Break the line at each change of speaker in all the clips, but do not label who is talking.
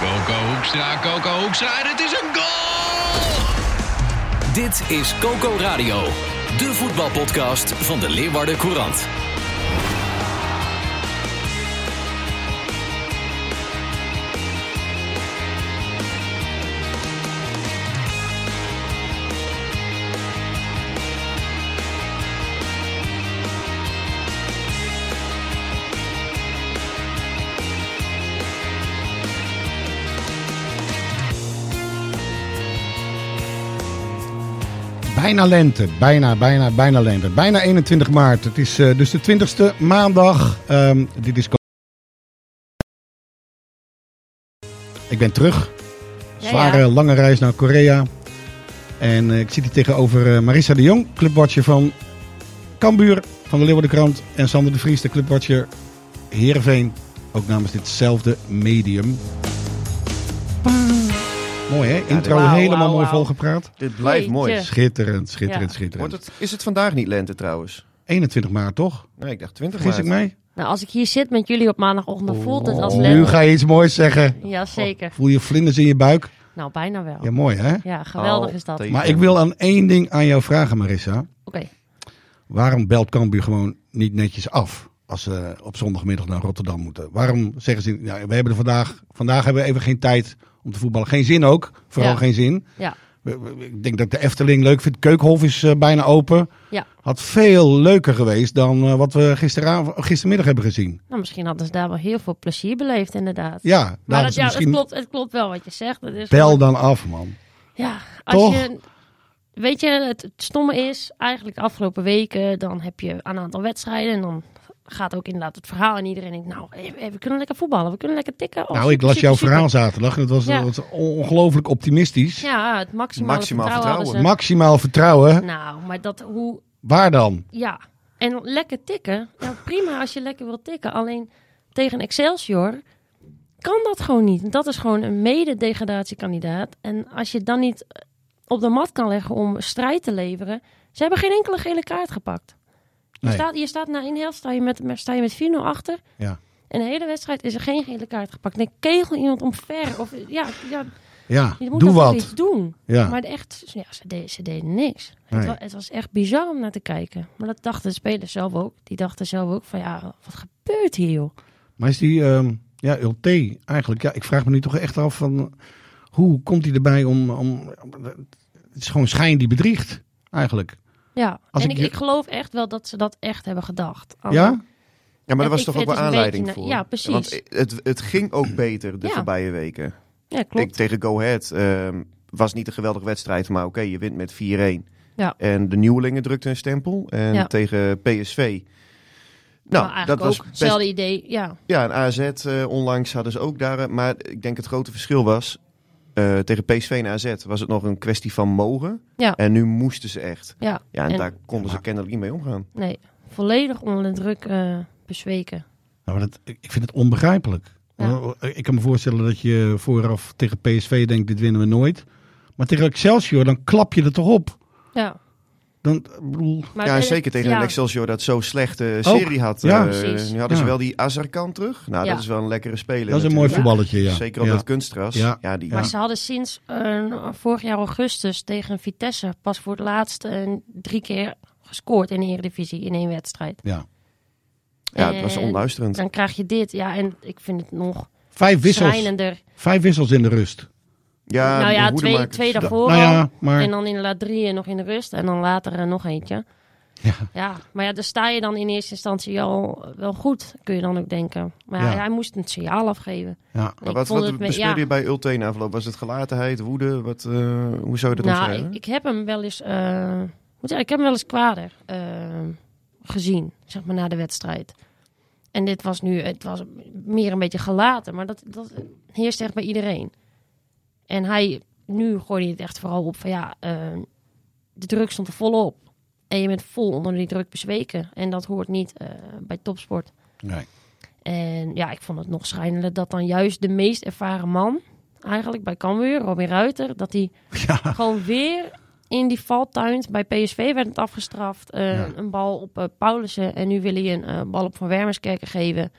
Coco Hoekstra, Coco Hoekstra, en het is een goal!
Dit is Coco Radio, de voetbalpodcast van de Leeuwarden Courant.
Bijna lente, bijna, bijna, bijna lente. Bijna 21 maart. Het is eh, dus de 20ste maandag. Ehm, dit is. Ik ben terug.
Ja,
Zware,
ja.
lange reis naar Korea. En eh, ik zit hier tegenover eh, Marissa de Jong, clubwatcher van Cambuur van de Leeuwardenkrant. En Sander de Vries, de clubwatcher Heerenveen. Ook namens ditzelfde medium. Pa. Mooi hè? Intro
wauw,
helemaal
wauw,
mooi
wauw.
volgepraat.
Dit blijft
Jeetje.
mooi.
Schitterend, schitterend,
Ja.
schitterend.
Wordt het, is het vandaag niet lente trouwens?
21 maart, toch?
Nee, ik dacht 20
Vergis ik
maart.
mij?
Nou, als ik hier zit met jullie op maandagochtend, dan voelt het als
Oh, Nu
lente.
ga je iets moois zeggen.
Jazeker.
Voel je vlinders in je buik?
Nou, bijna wel.
Ja, Oh, mooi hè?
Ja, geweldig is dat. Oké.
Altijd.
Maar ik wil aan één ding aan jou vragen, Marissa. Waarom belt Cambuur gewoon niet netjes af als ze op zondagmiddag naar Rotterdam moeten? Waarom zeggen ze, nou, we hebben er vandaag, vandaag hebben we even geen tijd om te voetballen. Geen zin ook, vooral
Ja.
geen zin.
Ja.
We- we- Ik denk dat ik de Efteling leuk vindt. Keukenhof is eh, bijna open.
Ja.
Had veel leuker geweest dan eh, wat we gisteravond, gistermiddag hebben gezien.
Nou, misschien hadden ze daar wel heel veel plezier beleefd, inderdaad.
Ja,
maar
nou,
dat, ja,
misschien
het, klopt, het klopt wel wat je zegt. Het is
bel
gewoon-
dan af, man.
Ja, als
Toch?
je. Weet je, het, het stomme is, eigenlijk de afgelopen weken, dan heb je een aantal wedstrijden en dan gaat ook inderdaad het verhaal en iedereen denkt, nou, eh, eh, we kunnen lekker voetballen, we kunnen lekker tikken. Oh,
Nou,
super,
ik las
super,
jouw
super.
verhaal zaterdag en het was,
Ja.
dat was on- ongelooflijk optimistisch.
Ja, het maximale
Maximaal
vertrouwen, hadden
Maximaal vertrouwen.
ze. Nou, maar dat, hoe,
Waar dan?
Ja, en lekker tikken. Ja, prima als je lekker wil tikken. Alleen tegen Excelsior kan dat gewoon niet. Dat is gewoon een mede-degradatiekandidaat. En als je het dan niet eh, op de mat kan leggen om strijd te leveren... Ze hebben geen enkele gele kaart gepakt. Je,
Nee.
staat, je staat na één helft, sta je met, sta je met 4-0 achter.
Ja.
En de hele wedstrijd is er geen gele kaart gepakt. Dan kegel iemand omver. Of, ja, ja,
Ja,
je moet
doe
dan toch
wat.
iets doen.
Ja.
Maar echt, ja, ze, deden, ze deden niks.
Nee.
Het, was, het was echt bizar om naar te kijken. Maar dat dachten de spelers zelf ook. Die dachten zelf ook van, ja, wat gebeurt hier, joh?
Maar is die, ehm ja, Ulte eigenlijk. Ja, ik vraag me nu toch echt af van, hoe komt hij erbij om, om, het is gewoon schijn die bedriegt, eigenlijk.
Ja,
Als
en
ik
ik,
je-
ik geloof echt wel dat ze dat echt hebben gedacht.
Ja?
Ja, maar
Ja,
er was
ik
toch ook
vind
wel
het een
aanleiding
beetje-
voor?
ja, precies.
Want het, het ging ook beter de
Ja.
voorbije weken.
Ja, klopt.
Ik, tegen Go Ahead ehm, was niet een geweldige wedstrijd, maar oké, je wint met 4-1.
Ja.
En de nieuwelingen drukten een stempel. En
Ja.
tegen PSV...
Nou,
Nou, dat
eigenlijk
was
ook.
best-
Hetzelfde idee, ja.
Ja, en AZ eh, onlangs hadden ze ook daar. eh, Maar ik denk het grote verschil was. eh, tegen PSV en AZ was het nog een kwestie van mogen.
Ja.
En nu moesten ze echt.
Ja,
Ja, en,
En-
daar konden ze kennelijk niet mee omgaan.
nee. Volledig onder de druk eh, bezweken.
Nou, maar dat, ik ik vind het onbegrijpelijk.
Ja.
Ik kan me voorstellen dat je vooraf tegen PSV denkt, dit winnen we nooit. Maar tegen Excelsior, dan klap je er toch op.
Ja.
Dan, ik bedoel,
Maar
ja, en
het-
zeker tegen
ja.
een Excelsior dat zo'n slechte serie had.
ja.
eh,
Precies.
nu hadden ze
Ja.
wel die Azarkan terug. Nou,
Ja.
dat is wel een lekkere speler.
dat is een mooi
natuurlijk.
voetballetje, ja.
Zeker op
Ja.
dat kunstgras.
Ja.
Ja, die,
Maar ze hadden sinds eh, vorig jaar augustus tegen Vitesse pas voor het laatst eh, drie keer gescoord in de Eredivisie in één wedstrijd.
ja.
ja, het was
En
onluisterend.
Dan krijg je dit. Ja, en ik vind het nog
Vijf wissels.
schrijnender.
Vijf wissels in de rust.
Ja,
nou ja,
de
twee,
hoedemakers.
twee daarvoor
nou
al.
ja, maar...
En dan inderdaad drie nog in de rust. En dan later eh, nog eentje.
Ja.
maar ja, daar sta je dan in eerste instantie al wel goed, kun je dan ook denken. Maar
Ja.
ja, hij moest een signaal afgeven.
Ja.
Maar
Ik
wat,
vond
wat
het me-
bespeelde
ja.
je bij Ulte na afloop? Was het gelatenheid, woede? Wat, eh, hoe zou je dat
Nou,
omschrijven?
ik, ik heb hem wel eens, eh, moet ik zeggen, ik heb hem wel eens kwader eh, gezien, zeg maar na de wedstrijd. En dit was nu, het was meer een beetje gelaten, maar dat, dat heerst echt bij iedereen. En hij, nu gooide hij het echt vooral op van ja, eh, de druk stond er volop. En je bent vol onder die druk bezweken. En dat hoort niet eh, bij topsport.
Nee.
En ja, ik vond het nog schrijnender dat dan juist de meest ervaren man, eigenlijk bij Cambuur, Robin Ruiter, dat hij
Ja.
gewoon weer in die valtuin. Bij PSV werd het afgestraft. Eh,
Ja.
Een bal op eh, Paulussen. En nu wil hij een eh, bal op Van Wermerskerken geven.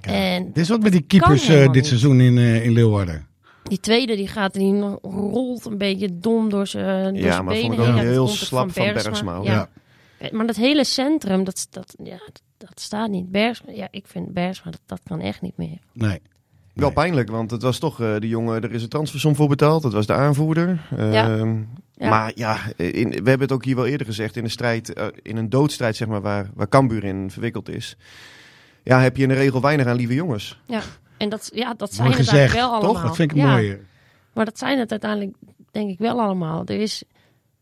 En
Dit is wat met die keepers
Kan helemaal
eh, dit
niet.
seizoen in, eh, in Leeuwarden.
Die tweede die gaat en die rolt een beetje dom door zijn door
Ja,
zijn
maar
benen
vond ik ook
heen. Ja,
heel
dat komt
slap van Bergsma, hoor.
Ja. Eh, Maar dat hele centrum, dat, dat, ja, dat, dat staat niet. Bergsma, ja, ik vind Bergsma, dat, dat kan echt niet meer.
Nee.
Wel pijnlijk, want het was toch eh die jongen, er is een transfersom voor betaald. Dat was de aanvoerder. Ehm,
Ja.
Maar ja, in, we hebben het ook hier wel eerder gezegd. In een strijd, eh, in een doodstrijd zeg maar, waar, waar Cambuur in verwikkeld is. Ja, heb je in de regel weinig aan lieve jongens.
En dat, ja, dat zijn
Mooi
het eigenlijk
gezegd,
wel allemaal.
toch? Dat vind ik
Ja,
mooier.
Maar dat zijn het uiteindelijk, denk ik, wel allemaal. Er is,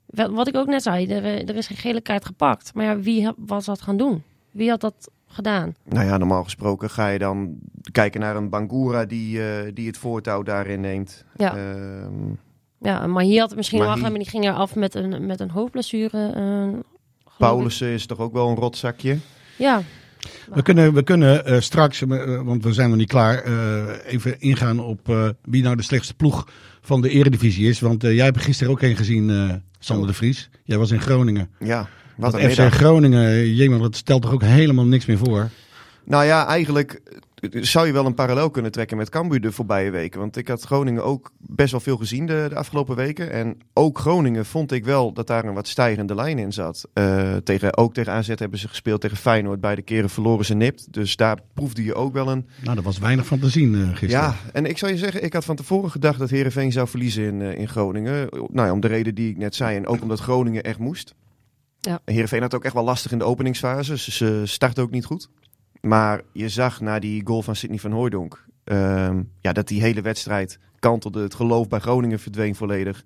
wel- wat ik ook net zei, er, eh, er is geen gele kaart gepakt. Maar ja, wie ha- was dat gaan doen? Wie had dat gedaan?
Nou ja, normaal gesproken ga je dan kijken naar een Bangura die, eh, die het voortouw daarin neemt.
Ja.
Ehm,
Ja, maar hier had het misschien wel
Mahi.
gedaan, maar die ging er af met een, met een hoofdblessure. eh, geloof ik.
Paulussen is toch ook wel een rotzakje.
Ja,
We kunnen, we kunnen eh, straks, eh, want we zijn nog niet klaar, eh, even ingaan op eh, wie nou de slechtste ploeg van de eredivisie is. Want eh, jij hebt er gisteren ook een gezien, eh, Sander de Vries. Jij was in Groningen.
Ja, wat
Dat
een
FC
middag.
Groningen, jemig, dat stelt toch ook helemaal niks meer voor.
Nou ja, eigenlijk eh, zou je wel een parallel kunnen trekken met Cambuur de voorbije weken. Want ik had Groningen ook best wel veel gezien de, de afgelopen weken. En ook Groningen vond ik wel dat daar een wat stijgende lijn in zat. Eh, tegen, ook tegen AZ hebben ze gespeeld, tegen Feyenoord. Beide keren verloren ze nipt. Dus daar proefde je ook wel een...
Nou, er was weinig van te zien eh, gisteren.
Ja, en ik zou je zeggen, ik had van tevoren gedacht dat Heerenveen zou verliezen in, eh, in Groningen. Nou ja, om de reden die ik net zei. En ook omdat Groningen echt moest.
Ja.
Heerenveen had het ook echt wel lastig in de openingsfase. Ze, ze startte ook niet goed. Maar je zag na die goal van Sidney van Hooijdonk... ehm, ja, dat die hele wedstrijd kantelde. Het geloof bij Groningen verdween volledig.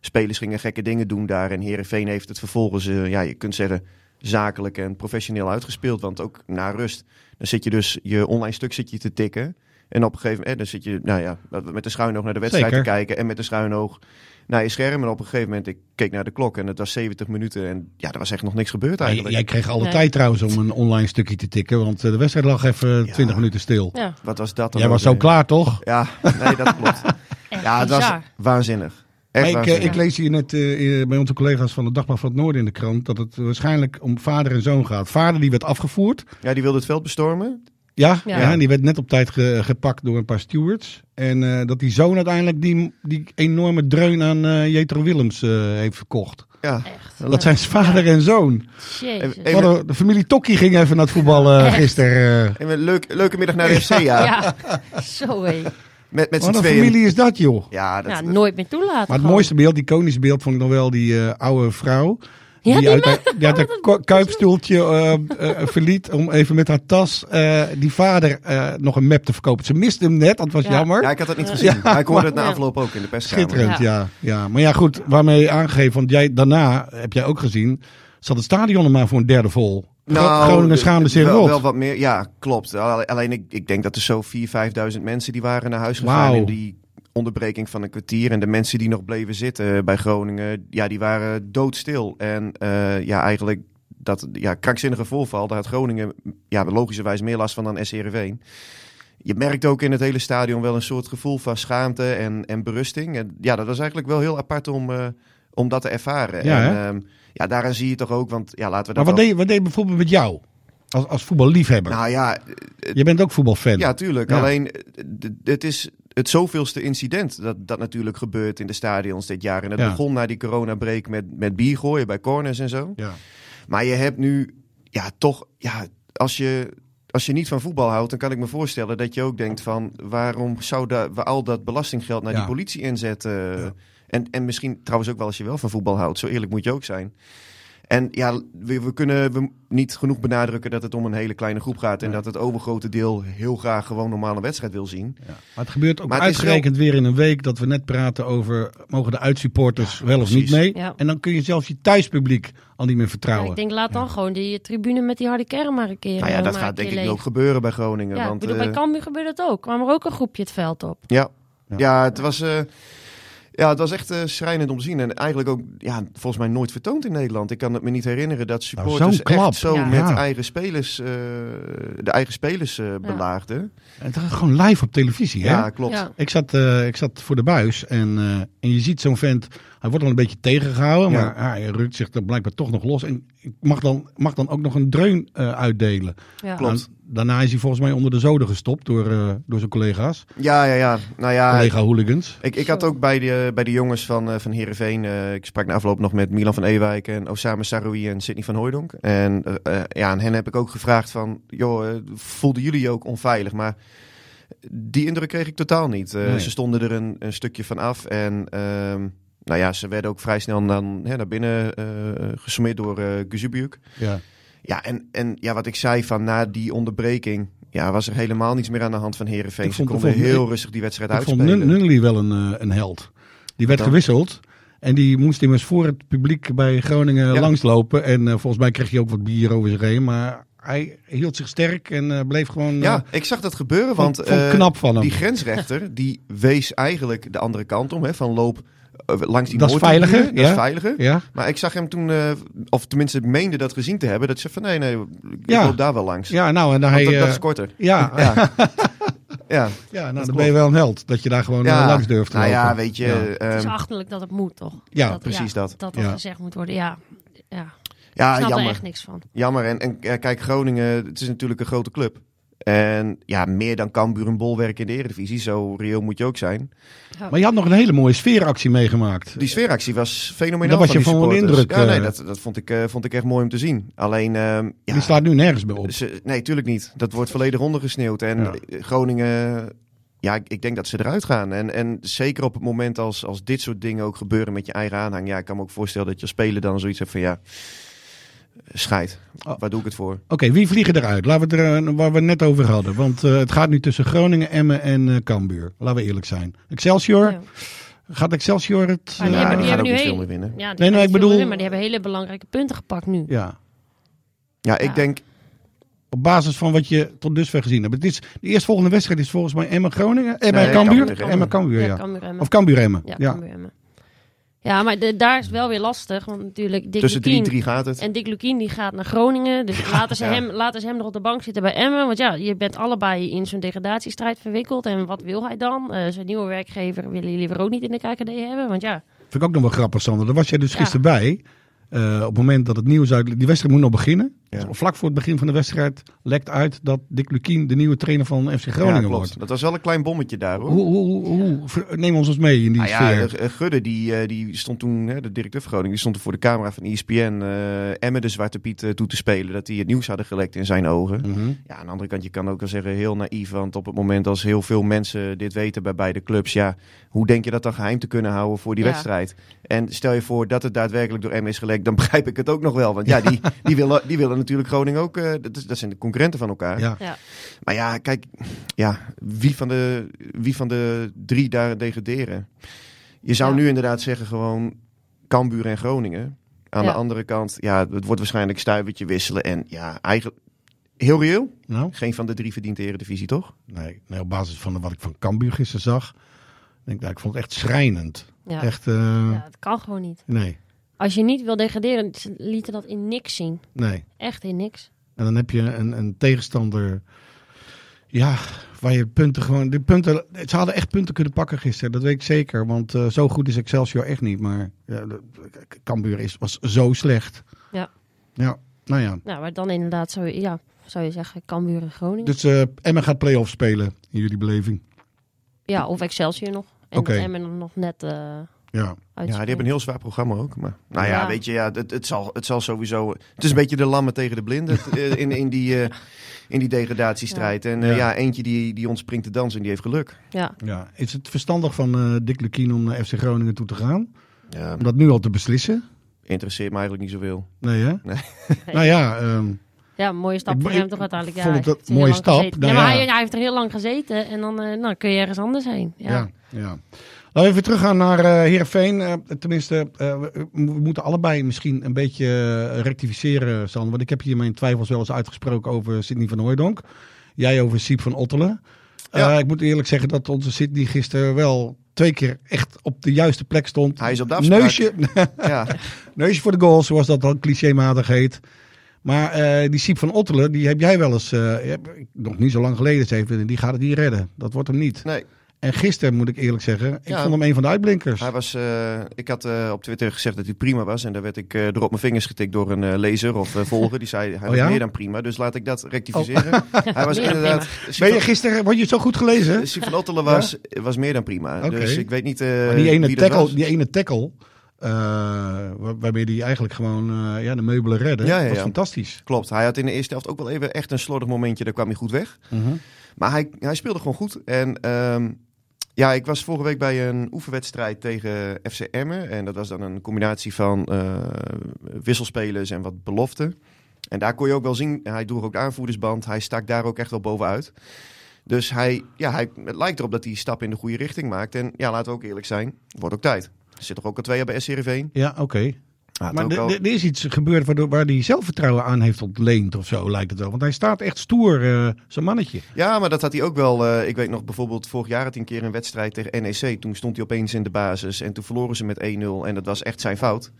Spelers gingen gekke dingen doen daar. En Heerenveen heeft het vervolgens, eh, ja, je kunt zeggen... zakelijk en professioneel uitgespeeld. Want ook na rust, dan zit je dus... je online stuk zit je te tikken... En op een gegeven moment, eh, dan zit je nou ja, dat we met een schuin oog naar de wedstrijd
Zeker.
te kijken. En met een schuin oog naar je scherm. En op een gegeven moment, ik keek naar de klok en het was 70 minuten. En ja, er was echt nog niks gebeurd
Maar j-
eigenlijk.
jij kreeg alle
Nee.
tijd trouwens om een online stukje te tikken, want eh, de wedstrijd lag even
Ja.
20 minuten stil.
ja.
Wat was dat dan?
Jij
ook
was zo
weer?
klaar, toch?
Ja, nee, dat klopt.
Echt
ja, het was
bizar.
waanzinnig. Echt
Maar ik, eh,
waanzinnig.
ik lees hier net eh, eh, bij onze collega's van het Dagblad van het Noorden in de krant dat het waarschijnlijk om vader en zoon gaat. Vader die werd afgevoerd.
Ja, die wilde het veld bestormen.
Ja, ja.
Ja.
en die werd net op tijd ge- eh, gepakt door een paar stewards. En eh, dat die zoon uiteindelijk die, die enorme dreun aan eh, Jetro Willems eh, heeft verkocht.
Ja,
Echt.
Dat zijn zijn vader en zoon.
Jezus.
Even- even-
Wat een- de familie Tokkie ging even naar het voetballen
Echt?
gisteren. eh.
en een leuk, leuke middag naar de FC, ja.
ja, zo hé.
Met, met z'n
Wat een
tweeën.
familie is dat, joh.
Ja, dat,
Ja, nooit meer toelaten.
Maar het
gewoon.
mooiste beeld, die ikonische beeld, vond ik nog wel die eh, oude vrouw.
Ja, die
uit
man-
haar, die uit haar
dat-
ko- kuipstoeltje eh, eh, verliet om even met haar tas eh, die vader eh, nog een map te verkopen. Ze miste hem net, dat was
Ja.
jammer.
ja, ik had dat niet gezien. maar ik hoorde het na
Ja.
afloop ook in de perskamer.
Schitterend, ja.
Ja.
Ja, Maar ja, goed, waarmee aangegeven, want jij, daarna, heb jij ook gezien, zat het stadion er maar voor een derde vol. Gro- Groningen
de-
schaamde zich
Nou, dus wel,
rot.
wel wat meer. Ja, klopt. Alle- Alleen ik, ik denk dat er zo 4.000, 5.000 mensen die waren naar huis gegaan.
Wauw.
In die onderbreking van een kwartier. En de mensen die nog bleven zitten bij Groningen, ja, die waren doodstil. En eh, ja, eigenlijk dat ja, krankzinnige voorval, daar had Groningen ja, logischerwijs meer last van dan SC Heerenveen. Je merkt ook in het hele stadion wel een soort gevoel van schaamte en, en berusting. En ja, dat was eigenlijk wel heel apart om, eh, om dat te ervaren.
Ja,
en,
hè?
ehm, ja, daaraan zie je toch ook, want ja, laten we
maar
dat
wat
wel-
deed, wat deed bijvoorbeeld met jou, als, als voetballiefhebber?
Nou ja,
je bent ook voetbalfan.
Ja, tuurlijk.
Ja.
Alleen, eh, d- d- het is het zoveelste incident dat, dat natuurlijk gebeurt in de stadions dit jaar. En dat
Ja.
begon na die coronabreak met, met bier gooien bij corners en zo.
Ja.
Maar je hebt nu, ja, toch, ja, als je, als je niet van voetbal houdt, dan kan ik me voorstellen dat je ook denkt van, waarom zouden we al dat belastinggeld naar
Ja.
die politie inzetten? En, en misschien trouwens ook wel als je wel van voetbal houdt, zo eerlijk moet je ook zijn. En ja, we, we kunnen we niet genoeg benadrukken dat het om een hele kleine groep gaat. En dat het overgrote deel heel graag gewoon normale wedstrijd wil zien.
Maar het gebeurt ook
Maar het is
uitgerekend weer in een week dat we net praten over mogen de uitsupporters wel of niet
precies.
mee.
Ja.
En dan kun je zelfs je thuispubliek al niet meer
Ja,
vertrouwen.
ik denk, laat dan gewoon die tribune met die harde kern maar een keer.
nou ja,
eh,
dat
maar
gaat
een
denk
keer
ik nu
leeg.
ook gebeuren bij Groningen.
Ja, ik
want,
bedoel,
eh,
bij Cambuur gebeurde dat ook. Kwam er ook een groepje het veld op.
Ja,
Ja.
ja. het was. eh, ja, het was echt eh, schrijnend om te zien. En eigenlijk ook ja, volgens mij nooit vertoond in Nederland. Ik kan het me niet herinneren dat supporters
Nou, zo'n klap.
echt zo
Ja.
met
Ja.
eigen spelers, eh, de eigen spelers eh, belaagden.
Het gaat gewoon live op televisie.
Ja,
Hè?
klopt.
Ja.
Ik, zat, eh, ik zat voor de buis en, eh, en je ziet zo'n vent Hij wordt dan een beetje tegengehouden,
Ja.
maar hij rukt zich er blijkbaar toch nog los. En mag dan, mag dan ook nog een dreun eh, uitdelen.
Ja.
Klopt.
Nou, daarna is hij volgens mij onder de zoden gestopt door, eh, door zijn collega's,
Ja, ja, ja. Nou ja,
collega hooligans.
ik, ik had ook bij de, bij de jongens van, eh van Heerenveen... eh, ik sprak na afloop nog met Milan van Ewijk en Osama Saroui en Sidney van Hooijdonk. En eh, eh, ja, aan hen heb ik ook gevraagd van... joh, eh, voelden jullie je ook onveilig? Maar die indruk kreeg ik totaal niet. Eh,
Nee.
Ze stonden er een, een stukje van af en... ehm, nou ja, ze werden ook vrij snel dan, hè, naar binnen eh gesmeerd door eh Guzubiuk.
Ja.
Ja, en, en ja, wat ik zei van na die onderbreking... Ja, was er helemaal niets meer aan de hand van Herenveen.
Ik
Ze
vond-
konden
vond-
heel
ik-
rustig die wedstrijd
Ik vond
uitspelen.
Nun- Nunnally wel een, eh, een held. Die werd
Dan-
gewisseld. En die moest immers voor het publiek bij Groningen
Ja.
langslopen. En eh, volgens mij kreeg hij ook wat bier over zich heen. Maar hij hield zich sterk en eh, bleef gewoon eh,
ja, ik zag dat gebeuren, want
vond- vond
eh,
knap van hem.
die grensrechter die wees eigenlijk de andere kant om. Hè, van loop eh, langs die
Dat is
noordtribune,
veiliger,
Dat
ja.
is veiliger.
eh, Ja,
Maar ik zag hem toen, eh, of tenminste meende dat gezien te hebben... dat ze van nee, nee, ik
Ja.
loop daar wel langs.
ja nou en dan
Want
hij...
dat, dat
eh,
is korter.
ja, ja,
Ja. ja.
nou, dan ben
klopt.
je wel een held. Dat je daar gewoon eh,
Ja.
langs durft te
Nou ja,
lopen.
weet je...
Ja.
ehm,
Het is achterlijk dat het moet, toch?
Ja,
dat,
precies dat.
Dat
Ja.
gezegd moet worden, ja. ja. Ik
ja,
snap er
jammer.
echt niks van.
Jammer. En, en eh, kijk, Groningen, het is natuurlijk een grote club. En ja, meer dan Cambuur en Bolwerk in de Eredivisie. Zo reëel moet je ook zijn.
Maar je had nog een hele mooie sfeeractie meegemaakt.
Die sfeeractie was fenomenaal
Daar was
van
je
die
van onder de
supporters.
indruk,
Ja, nee,
eh.
dat, dat vond, ik, eh, vond ik echt mooi om te zien. Alleen, ehm, ja, Dus-
Die slaat nu nergens meer op.
ze- nee, tuurlijk niet. Dat wordt volledig ondergesneeuwd. En
Ja.
eh, Groningen, ja, ik, ik denk dat ze eruit gaan. En, en zeker op het moment als, als dit soort dingen ook gebeuren met je eigen aanhang. Ja, ik kan me ook voorstellen dat je als speler dan zoiets hebt van ja, scheid.
Oh.
Waar doe ik het voor?
Oké, wie vliegen eruit? Laten we het er, eh, waar we het net over hadden. Want eh, het gaat nu tussen Groningen, Emmen en eh Cambuur. Laten we eerlijk zijn. Excelsior,
Ja.
gaat Excelsior het...
Maar die
eh,
ja,
hebben-
die
die
gaan ook
hebben
niet
nu
veel
heen.
meer winnen.
Ja, die
nee,
gaan
ik
niet veel
bedoel-
winnen, Maar die hebben hele belangrijke punten gepakt nu.
ja,
Ja, ik
Ja.
denk
op basis van wat je tot dusver gezien hebt. Het is, de eerstvolgende wedstrijd is volgens mij eh, Emmen-Groningen.
Nee,
Emmen-Cambuur?
Cambuur, Emmen.
Emmen-Cambuur,
Ja,
ja.
Cambuur Emmen.
Of Cambuur-Emmen.
Ja,
Ja,
Cambuur Emmen. Ja, maar de- daar is het wel weer lastig. Want natuurlijk, Dick
Tussen 3-3
Lukien
gaat het.
en Dick Lukien die gaat naar Groningen. Dus laten, ze
ja.
hem, laten ze hem nog op de bank zitten bij Emmen. Want ja, je bent allebei in zo'n degradatiestrijd verwikkeld. En wat wil hij dan? Eh, zijn nieuwe werkgever willen jullie weer ook niet in de KKD hebben. Want ja,
Vind ik ook nog wel grappig, Sander. Daar was jij dus
Ja.
gisteren bij. Eh, op het moment dat het nieuws uit... Die wedstrijd moet nog beginnen. Dus
Ja.
Vlak voor het begin van de wedstrijd lekt uit dat Dick Lukien de nieuwe trainer van FC
Ja,
Groningen wordt.
klopt. Dat was wel een klein bommetje daar hoor.
Hoe, hoe, hoe, hoe- ver- neem ons eens mee in die
Nou ja,
sfeer.
eh, eh, Gudde, die, eh, die stond toen, hè, de directeur van Groningen, die stond er voor de camera van E ESPN eh Emmen de Zwarte Piet eh, toe te spelen. Dat die het nieuws hadden gelekt in zijn ogen.
Mhm.
Ja, aan de andere kant, je kan ook wel zeggen, heel naïef. Want op het moment als heel veel mensen dit weten bij beide clubs, ja, hoe denk je dat dan geheim te kunnen houden voor die
Ja.
wedstrijd? En stel je voor dat het daadwerkelijk door Emmen is gelekt, dan begrijp ik het ook nog wel. Want ja, die, die, willen, die willen natuurlijk Groningen ook, eh, dat, is- dat zijn de concurrenten van elkaar.
Ja.
ja.
Maar ja, kijk, ja, wie, van de, wie van de drie daar degraderen? Je zou
Ja.
nu inderdaad zeggen gewoon Cambuur en Groningen. Aan
Ja.
de andere kant, ja, het wordt waarschijnlijk stuivertje wisselen. En ja, eigenlijk, heel reëel,
Nou,
geen van de drie verdient de Eredivisie, toch?
nee, nee, op basis van wat ik van Cambuur gisteren zag, denk ik, nou, ik vond het echt schrijnend.
Ja.
Echt, eh,
ja, het kan gewoon niet.
nee,
Als je niet wil degraderen, ze lieten dat in niks zien.
nee.
Echt in niks.
En dan heb je een, een tegenstander, ja, waar je punten gewoon, de punten, ze hadden echt punten kunnen pakken gisteren, dat weet ik zeker. Want eh, zo goed is Excelsior echt niet, maar ja, de- Cambuur is, was zo slecht.
Ja.
Ja, nou ja.
Nou, maar dan inderdaad zou je, ja, zou je zeggen Cambuur en Groningen.
Dus eh Emma gaat play-off spelen, in jullie beleving.
Ja, of Excelsior nog. En
Oké.
dat Emmen dan nog net eh
Ja,
Ja, die hebben een heel zwaar programma ook. Maar, nou ja,
Ja.
weet je, ja, het, het, zal, het zal sowieso... Het is een beetje de lammen tegen de blinden eh, in, in, die, eh, in die degradatiestrijd. En eh,
Ja.
ja, eentje die, die ontspringt de dans en die heeft geluk.
Ja,
ja. Is het verstandig van eh, Dick Lukien om naar FC Groningen toe te gaan?
Ja,
Om dat nu al te beslissen?
interesseert me eigenlijk niet zoveel.
Nee, hè?
Nee.
nou ja, ehm,
ja mooie stap
Ik-
voor
ik
hem toch uiteindelijk. Ja,
vond het
hij
een
heeft heel
mooie
lang
stap.
gezeten.
Nou
ja, maar
ja.
Hij, hij heeft er heel lang gezeten en dan eh, nou, kun je ergens anders heen. Ja.
ja. ja, Laten we even teruggaan naar eh Heerenveen. Eh, tenminste, eh, we, we moeten allebei misschien een beetje eh, rectificeren, Sander. Want ik heb hier mijn twijfels wel eens uitgesproken over Sidney van Hooijdonk. Jij over Siep van Ottelen. Eh,
Ja.
ik moet eerlijk zeggen dat onze Sidney gisteren wel twee keer echt op de juiste plek stond.
Hij is op de afspraak.
Neusje,
Ja.
Neusje voor de goal, zoals dat dan clichématig heet. Maar eh, die Siep van Ottelen, die heb jij wel eens, eh, heb- nog niet zo lang geleden, zeven, die gaat het niet redden. Dat wordt hem niet.
Nee.
En gisteren moet ik eerlijk zeggen, ik
Ja.
vond hem een van de uitblinkers.
Hij was, eh, ik had eh, op Twitter gezegd dat hij prima was. En daar werd ik eh, door op mijn vingers getikt door een eh, lezer of eh, volger. Die zei, hij was
Oh ja? Oh.
meer dan prima. Dus laat ik dat rectificeren. Hij was
Meer dan
inderdaad...
Ben je gisteren, word je zo goed gelezen?
Sif van Ottelen was, was meer dan prima.
Oké.
Dus ik weet niet eh,
Maar die ene
wie dat
tackle,
was.
die ene tackle eh, waar- waarmee die eigenlijk gewoon eh, ja, de meubelen redden,
Ja, ja,
was
ja.
fantastisch.
Klopt, hij had in de eerste helft ook wel even echt een slordig momentje. Daar kwam hij goed weg. Maar hij, hij speelde gewoon goed. En ehm, ja, ik was vorige week bij een oefenwedstrijd tegen FC Emmen. En dat was dan een combinatie van eh, wisselspelers en wat beloften. En daar kon je ook wel zien, hij droeg ook de aanvoerdersband. Hij stak daar ook echt wel bovenuit. Dus hij, ja, hij, het lijkt erop dat hij stappen in de goede richting maakt. En ja, laten we ook eerlijk zijn, wordt ook tijd. Er zit toch ook al twee jaar bij SCRV?
Ja, oké.
Ja,
Maar er- er er is iets gebeurd waardoor, waar hij zelfvertrouwen aan heeft ontleend of zo, lijkt het wel. Want hij staat echt stoer, eh, zo'n mannetje.
Ja, maar dat had hij ook wel. eh, ik weet nog bijvoorbeeld, vorig jaar had hij een keer een wedstrijd tegen NEC. Toen stond hij opeens in de basis en toen verloren ze met 1-0. En dat was echt zijn fout.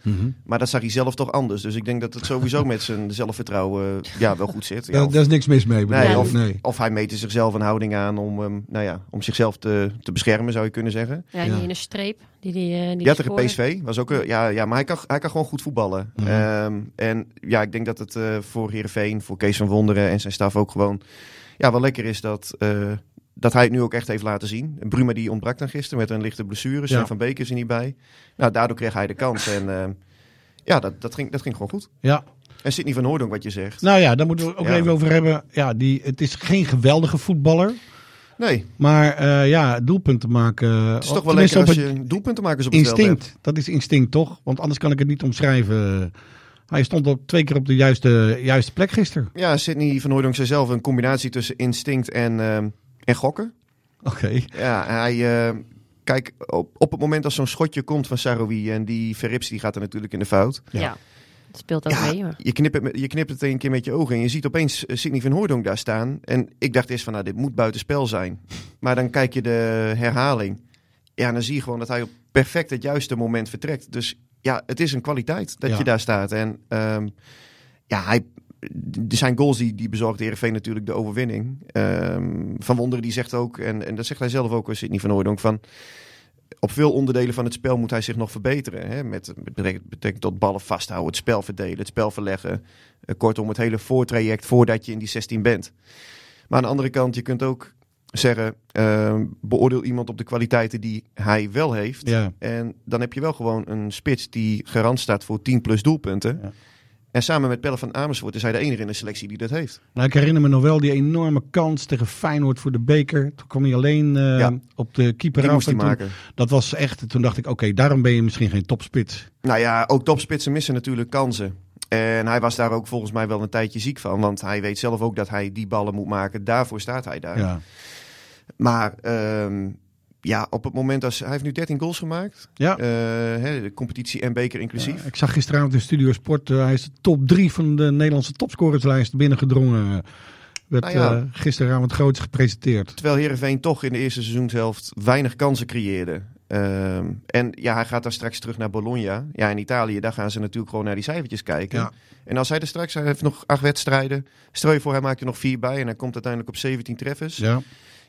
Maar dat zag hij zelf toch anders. Dus ik denk dat het sowieso met zijn zelfvertrouwen eh, ja, wel goed zit. Ja,
Daar,
of,
daar is niks mis mee, bedoel
nee,
je?
of,
nee.
of hij meet er zichzelf een houding aan om, ehm, nou ja, om zichzelf te, te beschermen, zou je kunnen zeggen.
Ja,
Ja.
die in een streep. Die, die, eh, die,
Die had tegen
scoorde.
PSV. Was ook, eh, ja, ja, maar hij kan, hij kan gewoon goed voetballen.
Mhm.
Ehm, en ja, ik denk dat het eh, voor Heerenveen, voor Kees van Wonderen en zijn staf ook gewoon ja, wel lekker is dat, eh, dat hij het nu ook echt heeft laten zien. En Bruma die ontbrak dan gisteren met een lichte blessure. Sven
Ja.
van Beek is er niet bij. Nou, daardoor kreeg hij de kans. En ehm, ja, dat, dat, ging, dat ging gewoon goed.
Ja.
En Sidney van Hoordonk, wat je zegt.
Nou ja, daar moeten we het ook
Ja.
even over hebben. Ja, die, het is geen geweldige voetballer.
Nee,
Maar eh, ja, doelpunten maken.
het is toch wel lekker als je doelpunten maken op het veld hebt.
Instinct, dat is instinct toch? Want anders kan ik het niet omschrijven. Hij stond ook twee keer op de juiste, juiste plek gisteren.
Ja, Sidney van Hoordonk zei zelf een combinatie tussen instinct en, ehm, en gokken.
Oké.
Ja, hij. eh, kijk, op, op het moment dat zo'n schotje komt van Saroui en die Verrips die gaat er natuurlijk in de fout.
Ja. Dat speelt ook mee. Maar.
Je knipt, het, met- je knipt het een keer met je ogen en je ziet opeens eh, Sidney van Hooydonk daar staan. En ik dacht eerst van, nou, dit moet buitenspel zijn. Maar dan kijk je de herhaling. Ja, dan zie je gewoon dat hij op perfect het juiste moment vertrekt. Dus ja, het is een kwaliteit dat
Ja.
je daar staat. En ehm, ja, hij, er zijn goals die, die bezorgde Heerenveen natuurlijk de overwinning. Ehm, van Wonderen die zegt ook, en, en dat zegt hij zelf ook, eh, Sidney van Hooydonk, van... Op veel onderdelen van het spel moet hij zich nog verbeteren. Hè? Met met betrekking- betrekking tot ballen vasthouden, het spel verdelen, het spel verleggen. Eh, kortom, het hele voortraject voordat je in die 16 bent. Maar aan de andere kant, je kunt ook zeggen, ehm, beoordeel iemand op de kwaliteiten die hij wel heeft.
Ja.
En dan heb je wel gewoon een spits die garant staat voor 10 plus doelpunten.
Ja.
En samen met Pelle van Amersfoort is hij de enige in de selectie die dat heeft.
Nou, ik herinner me nog wel die enorme kans tegen Feyenoord voor de beker. Toen kwam hij alleen eh,
Ja.
op de keeper
Die
af.
moest hij
en toen-
maken.
Dat was echt, toen dacht ik, oké, daarom ben je misschien geen topspits.
Nou ja, ook topspitsen missen natuurlijk kansen. En hij was daar ook volgens mij wel een tijdje ziek van. Want hij weet zelf ook dat hij die ballen moet maken. Daarvoor staat hij daar.
Ja.
Maar ehm, ja, op het moment dat... ze- Hij heeft nu 13 goals gemaakt.
Ja.
Eh, hè, de competitie en beker inclusief.
Ik zag gisteravond in Studio Sport, eh, hij is de top drie van de Nederlandse topscorerslijst binnengedrongen. Werd
Nou ja.
eh, gisteravond groots gepresenteerd.
Terwijl Heerenveen toch in de eerste seizoenshelft weinig kansen creëerde. Ehm, en ja, hij gaat daar straks terug naar Bologna. Ja, in Italië, daar gaan ze natuurlijk gewoon naar die cijfertjes kijken.
Ja.
En als hij er straks, hij heeft nog acht wedstrijden. Stel je voor, hij maakt er nog vier bij en hij komt uiteindelijk op 17 treffers. Ja,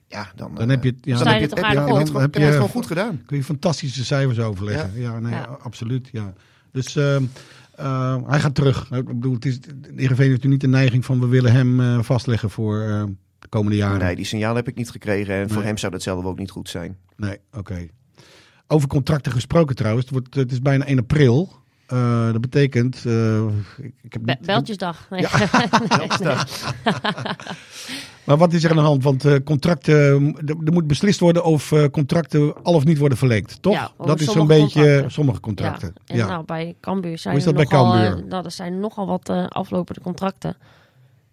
Ja.
dan, eh,
Dan heb je, ja,
dan
Sta
heb
je
je
er
het,
toch
heb
aardig
je- heb je
op?
het gewoon-
Heb
heb je het
je-
gewoon goed gedaan.
kun je fantastische cijfers overleggen. Ja, nee,
Ja.
absoluut. Ja. Dus ehm, ehm, hij gaat terug. Ik bedoel, het is, Heerenveen heeft nu niet de neiging van we willen hem eh, vastleggen voor eh, de komende jaren.
Nee, die signaal heb ik niet gekregen. En voor
Nee.
hem zou dat zelf ook niet goed zijn.
Nee, oké. Over contracten gesproken trouwens. Het, wordt, het is bijna 1 april. Eh, dat betekent... eh, ik, ik heb
Be-
niet-
Beltjesdag. Nee.
Maar wat is er aan de hand? Want eh, contracten, er, er moet beslist worden of eh, contracten al of niet worden verlengd, toch?
Ja, over
dat is zo'n
sommige
beetje
contracten.
sommige
Ja.
contracten. Ja,
En nou, bij Cambuur zijn
Hoe is dat
er
bij
nogal, eh,
Cambuur?
nou, er zijn nogal wat eh, aflopende contracten.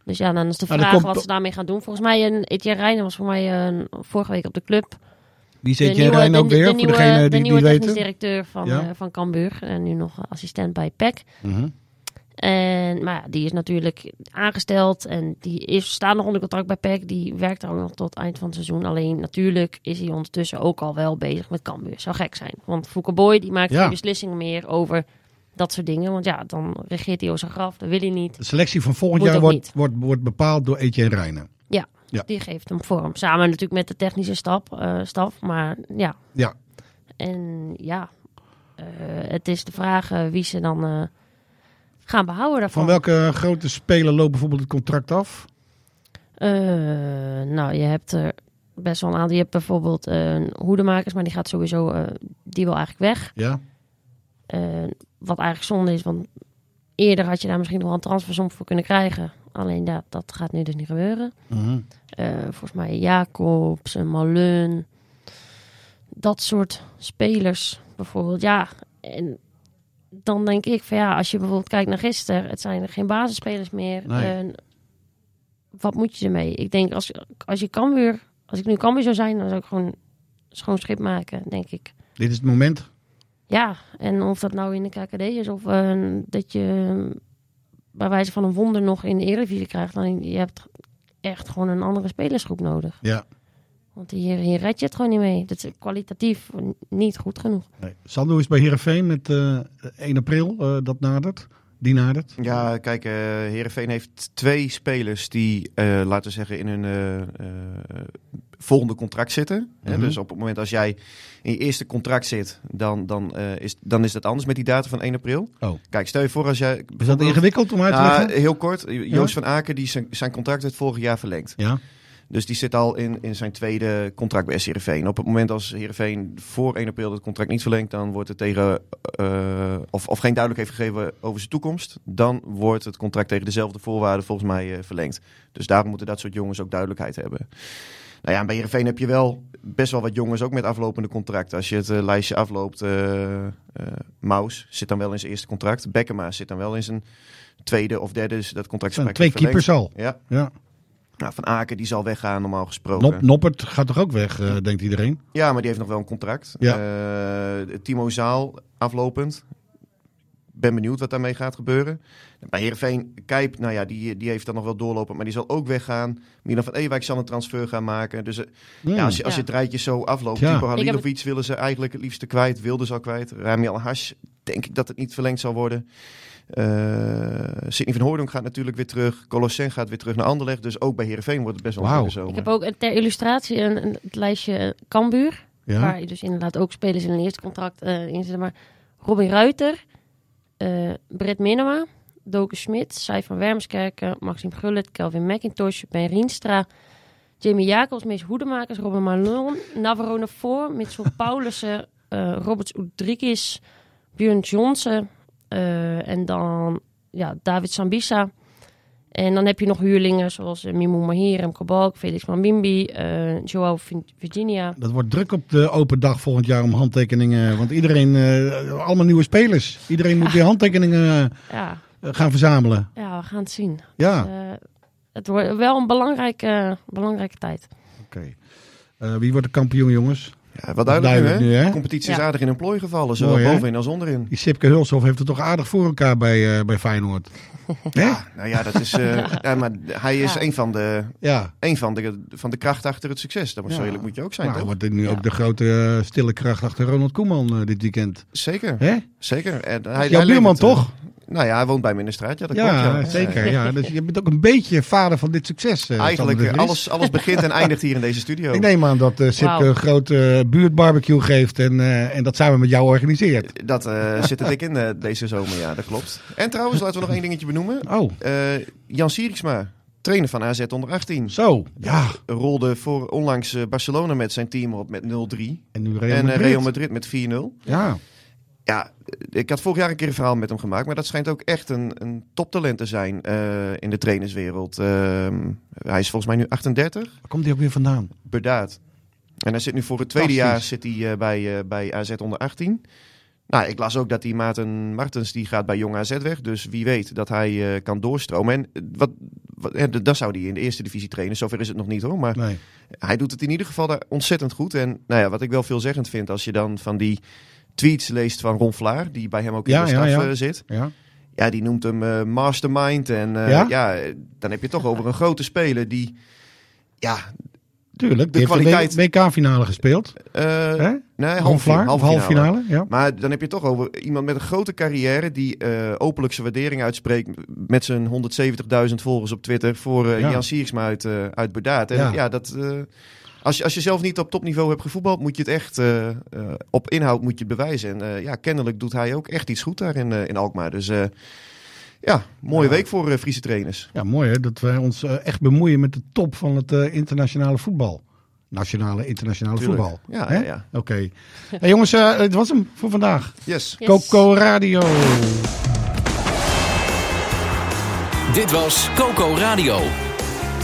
Dus ja, dan is de
Maar er Nou,
vraag
komt
wat
toch-
ze daarmee gaan doen. Volgens mij, een Etienne Reijnen was voor mij eh, vorige week op de club.
Wie
De
zit je
nieuwe-
Rijn ook
de-
weer?
de
voor
nieuwe-
degene die
de
het
nieuwe
niet
technisch
weten.
directeur van,
Ja.
eh, van Cambuur. En nu nog assistent bij PEC.
Mhm.
En, maar ja, die is natuurlijk aangesteld en die is, staat nog onder contract bij PEC. Die werkt dan nog tot eind van het seizoen. Alleen natuurlijk is hij ondertussen ook al wel bezig met Cambuur. Zou gek zijn. Want Fouke Boy die maakt
Ja.
geen beslissingen meer over dat soort dingen. Want ja, dan regeert hij over zijn graf. Dat wil hij niet.
De selectie van volgend
Moet
jaar
ook
wordt,
niet.
wordt, wordt bepaald door Etienne Reijnen.
Ja,
Ja.
Die geeft hem vorm. Samen natuurlijk met de technische stap, eh, staf. Maar ja.
Ja.
En ja, eh, het is de vraag eh, wie ze dan eh, gaan behouden daarvan.
Van welke grote speler loopt bijvoorbeeld het contract af?
Eh, nou, je hebt er best wel een aantal. Je hebt bijvoorbeeld eh, een hoedemakers, maar die gaat sowieso, eh, die wil eigenlijk weg.
Ja.
Eh, wat eigenlijk zonde is, want eerder had je daar misschien nog wel een transfersom voor kunnen krijgen. Alleen dat, dat gaat nu dus niet gebeuren.
Mhm.
Eh, volgens mij Jacobs en Malun. Dat soort spelers bijvoorbeeld. Ja, en dan denk ik van ja, als je bijvoorbeeld kijkt naar gisteren. Het zijn er geen basisspelers meer.
Nee.
En wat moet je ermee? Ik denk als, als je kan weer... Als ik nu kan weer zou zijn, dan zou ik gewoon schoon schip maken, denk ik.
Dit is het moment.
Ja, en of dat nou in de KKD is of eh, dat je eh, bij wijze van een wonder nog in de Eredivisie krijgt, dan je hebt echt gewoon een andere spelersgroep nodig.
Ja.
Want hier, hier red je het gewoon niet mee. Dat is kwalitatief niet goed genoeg.
Nee. Sando is bij Heerenveen met eh 1 april. eh, dat nadert. Die nadert.
Ja, kijk, eh Heerenveen heeft twee spelers die, eh, laten we zeggen, in hun eh, eh, volgende contract zitten. Hè,
Mhm.
dus op het moment als jij in je eerste contract zit, dan, dan, eh, is, dan is dat anders met die datum van 1 april.
Oh.
Kijk, stel je voor als jij...
Is dat ingewikkeld om uit te
Nou,
leggen?
heel kort, Joost van Aken die zijn, zijn contract werd vorig jaar verlengd.
ja.
Dus die zit al in, in zijn tweede contract bij Heerenveen. Op het moment als Heerenveen voor 1 april dat contract niet verlengt, dan wordt het tegen eh, of, of geen duidelijk heeft gegeven over zijn toekomst, dan wordt het contract tegen dezelfde voorwaarden volgens mij eh, verlengd. Dus daarom moeten dat soort jongens ook duidelijkheid hebben. Nou ja, en bij Heerenveen heb je wel best wel wat jongens ook met aflopende contracten. Als je het eh, lijstje afloopt, eh eh, Maus zit dan wel in zijn eerste contract. Bekkema zit dan wel in zijn tweede of derde. Dus dat contract
Het
is
zijn twee
eigenlijk verlengd.
keepers al.
Ja,
Ja.
nou, Van Aken die zal weggaan normaal gesproken.
Nop, Noppert gaat toch ook weg, eh, denkt iedereen?
Ja, maar die heeft nog wel een contract.
Ja.
Eh, Timo Zaal aflopend. Ben benieuwd wat daarmee gaat gebeuren. Bij Heerenveen, Kijp, nou ja, die, die heeft dan nog wel doorlopend, maar die zal ook weggaan. Milan van Ewijk zal een transfer gaan maken. Dus eh, ja, als, je, als je
Ja.
het rijtje zo afloopt,
Hmm. Ja.
Typo
heb
Halilovic willen ze eigenlijk het liefste kwijt. Wilden ze al kwijt. Rami Hash, denk ik dat het niet verlengd zal worden. Eh Sidney van Hoordonk gaat natuurlijk weer terug. Colossen gaat weer terug naar Anderlecht. Dus ook bij Heerenveen wordt het best wel een
Wauw.
drukke zomer.
Ik heb ook eh, ter illustratie een, een- het lijstje eh, Cambuur.
Ja.
Waar je dus inderdaad ook spelers in een eerste contract eh, in zitten. Maar Robin Ruiter, eh Brett Minema, Doke Smit, Sai van Wermskerken, Maxime Gullit, Kelvin McIntosh, Ben Rienstra, Jamie Jacobs, Mees Hoedemakers, Robin Malon, Navarone Voor, Mitchell Paulussen, eh Roberts Udrikis, Björn Johnsen eh, en dan ja, David Sambisa. En dan heb je nog huurlingen zoals eh, Mimo Mahir, Remco Balk, Felix Mambimbi, eh Joao Vin- Virginia.
Dat wordt druk op de open dag volgend jaar om handtekeningen. Want iedereen, eh, allemaal nieuwe spelers. Iedereen moet weer handtekeningen
Ja,
eh, gaan verzamelen.
Ja, we gaan het zien.
Ja.
Eh, het wordt wel een belangrijke, belangrijke tijd.
Oké. Eh, wie wordt de kampioen, jongens?
Ja, Eh, wat duidelijk,
Duidelijk
nu,
nu,
hè?
hè?
De competitie is
Ja.
aardig in een plooi gevallen, zowel
Mooi, hè?
bovenin als onderin.
Die Sipke Hulshoff heeft het toch aardig voor elkaar bij, eh, bij Feyenoord. Hè?
Ja, nou ja, dat is, eh, ja, maar hij is
Ja.
een, van de,
Ja.
een van, de, van de krachten achter het succes. Dat moet,
Ja.
Zo eerlijk moet je ook zijn,
Nou, hij
toch?
wordt nu
Ja.
ook de grote eh, stille kracht achter Ronald Koeman eh, dit weekend.
Zeker,
Hè?
zeker. En hij,
Jouw
hij
buurman
levert, eh,
toch?
nou ja, hij woont bij me in de straat, ja, dat klopt.
Ja, zeker. Ja. Dus je bent ook een beetje vader van dit succes. eh,
Eigenlijk,
Sander de
eh,
Vries.
alles, alles begint en eindigt hier in deze studio.
Ik neem aan dat eh Sipke
Wauw.
een grote eh, buurtbarbecue geeft en, eh, en dat samen met jou organiseert.
Dat eh, zit er dik in eh, deze zomer, ja, dat klopt. En trouwens, laten we nog één dingetje benoemen.
Oh,
Eh, Jan Sieriksma, trainer van AZ onder 18,
zo. Ja.
rolde voor onlangs eh, Barcelona met zijn team op met 0-3.
En nu Real
En eh,
Madrid.
Real Madrid met 4-0.
Ja.
Ja, ik had vorig jaar een keer een verhaal met hem gemaakt. Maar dat schijnt ook echt een, een toptalent te zijn eh, in de trainerswereld. Ehm, hij is volgens mij nu 38,
Waar komt hij ook weer vandaan?
bedaard. En hij zit nu voor het tweede jaar
Fantastisch.
zit hij, eh, bij, eh, bij AZ onder 18. Nou, ik las ook dat die Maarten Martens die gaat bij Jong AZ weg. Dus wie weet dat hij eh, kan doorstromen. En eh, wat, wat, eh, d- dat zou hij in de eerste divisie trainen. Zover is het nog niet hoor. Maar
Nee.
hij doet het in ieder geval daar ontzettend goed. En nou ja, wat ik wel veelzeggend vind, als je dan van die tweets leest van Ron Vlaar, die bij hem ook in
Ja,
de
ja,
staf
ja.
eh, zit.
Ja.
Ja, die noemt hem eh, mastermind. En eh,
Ja?
ja? eh, dan heb je het toch over een grote speler die ja,
Tuurlijk,
De
die heeft
kwaliteit-
de WK-finale gespeeld.
Eh,
Hè?
nee,
Ron
half,
Vlaar,
half,
halve finale. Ja.
Maar dan heb je het toch over iemand met een grote carrière die eh, openlijk zijn waardering uitspreekt met zijn 170.000 volgers op Twitter voor eh,
Ja.
Jan Siersma uit, eh uit Bedaard. En
Ja.
ja, dat, eh, als, je, als je zelf niet op topniveau hebt gevoetbald, moet je het echt eh, eh, op inhoud moet je het bewijzen. En eh, ja, kennelijk doet hij ook echt iets goed daar in, eh, in Alkmaar. Dus eh, ja, mooie
Ja.
week voor eh, Friese trainers.
ja, mooi hè, dat wij ons eh, echt bemoeien met de top van het eh, internationale voetbal. Nationale, internationale
Tuurlijk.
voetbal.
Ja,
Hè?
ja, ja.
Oké. Hey, jongens, eh, het was hem voor vandaag.
Yes.
Yes.
Coco Radio.
Dit was Coco Radio.